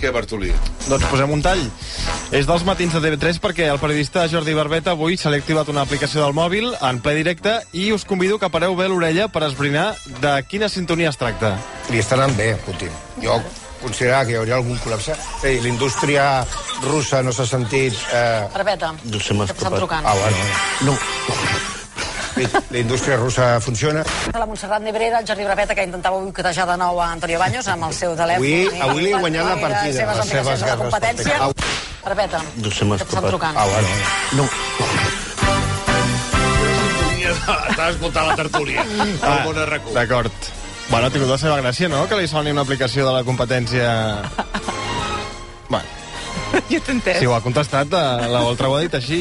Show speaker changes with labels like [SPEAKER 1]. [SPEAKER 1] Què, Bartolí?
[SPEAKER 2] Doncs posem un tall. És dels matins de TV3 perquè el periodista Jordi Barbeta avui se li ha activat una aplicació del mòbil en ple directe i us convido que pareu bé l'orella per esbrinar de quina sintonia es tracta.
[SPEAKER 3] Li està anant bé, Putin. Jo considerava que hi hauria algun col·lapse. Ei, l'indústria russa no s'ha sentit... Eh...
[SPEAKER 4] Barbeta,
[SPEAKER 5] No se m'ha
[SPEAKER 4] que estan
[SPEAKER 5] escapat.
[SPEAKER 4] trucant.
[SPEAKER 3] Ah, bueno.
[SPEAKER 5] No.
[SPEAKER 3] La- La indústria russa funciona.
[SPEAKER 4] La Montserrat Nebrera, el Jordi Barbeta, que intentava boicotejar de nou a Antonio Baños amb el seu telèfon.
[SPEAKER 3] Avui-
[SPEAKER 4] I
[SPEAKER 3] avui li ha
[SPEAKER 4] les
[SPEAKER 3] guanyat la partida,
[SPEAKER 4] seves
[SPEAKER 3] les
[SPEAKER 4] obligacions
[SPEAKER 3] seves
[SPEAKER 4] a la
[SPEAKER 3] guerres
[SPEAKER 4] competència.
[SPEAKER 3] per
[SPEAKER 4] Barbeta,
[SPEAKER 5] No se m'ha
[SPEAKER 4] que
[SPEAKER 5] escapat.
[SPEAKER 4] estan trucant.
[SPEAKER 3] Ah, bueno.
[SPEAKER 5] No.
[SPEAKER 1] Estava escoltant la tertúlia. El món arracó.
[SPEAKER 2] Ah, D'acord. Bueno, ha tingut la seva gràcia, no?, que li soni una aplicació de la competència... Bueno,
[SPEAKER 6] Jo t'he entès.
[SPEAKER 2] si ho ha contestat, eh, l'altre ho ha dit així.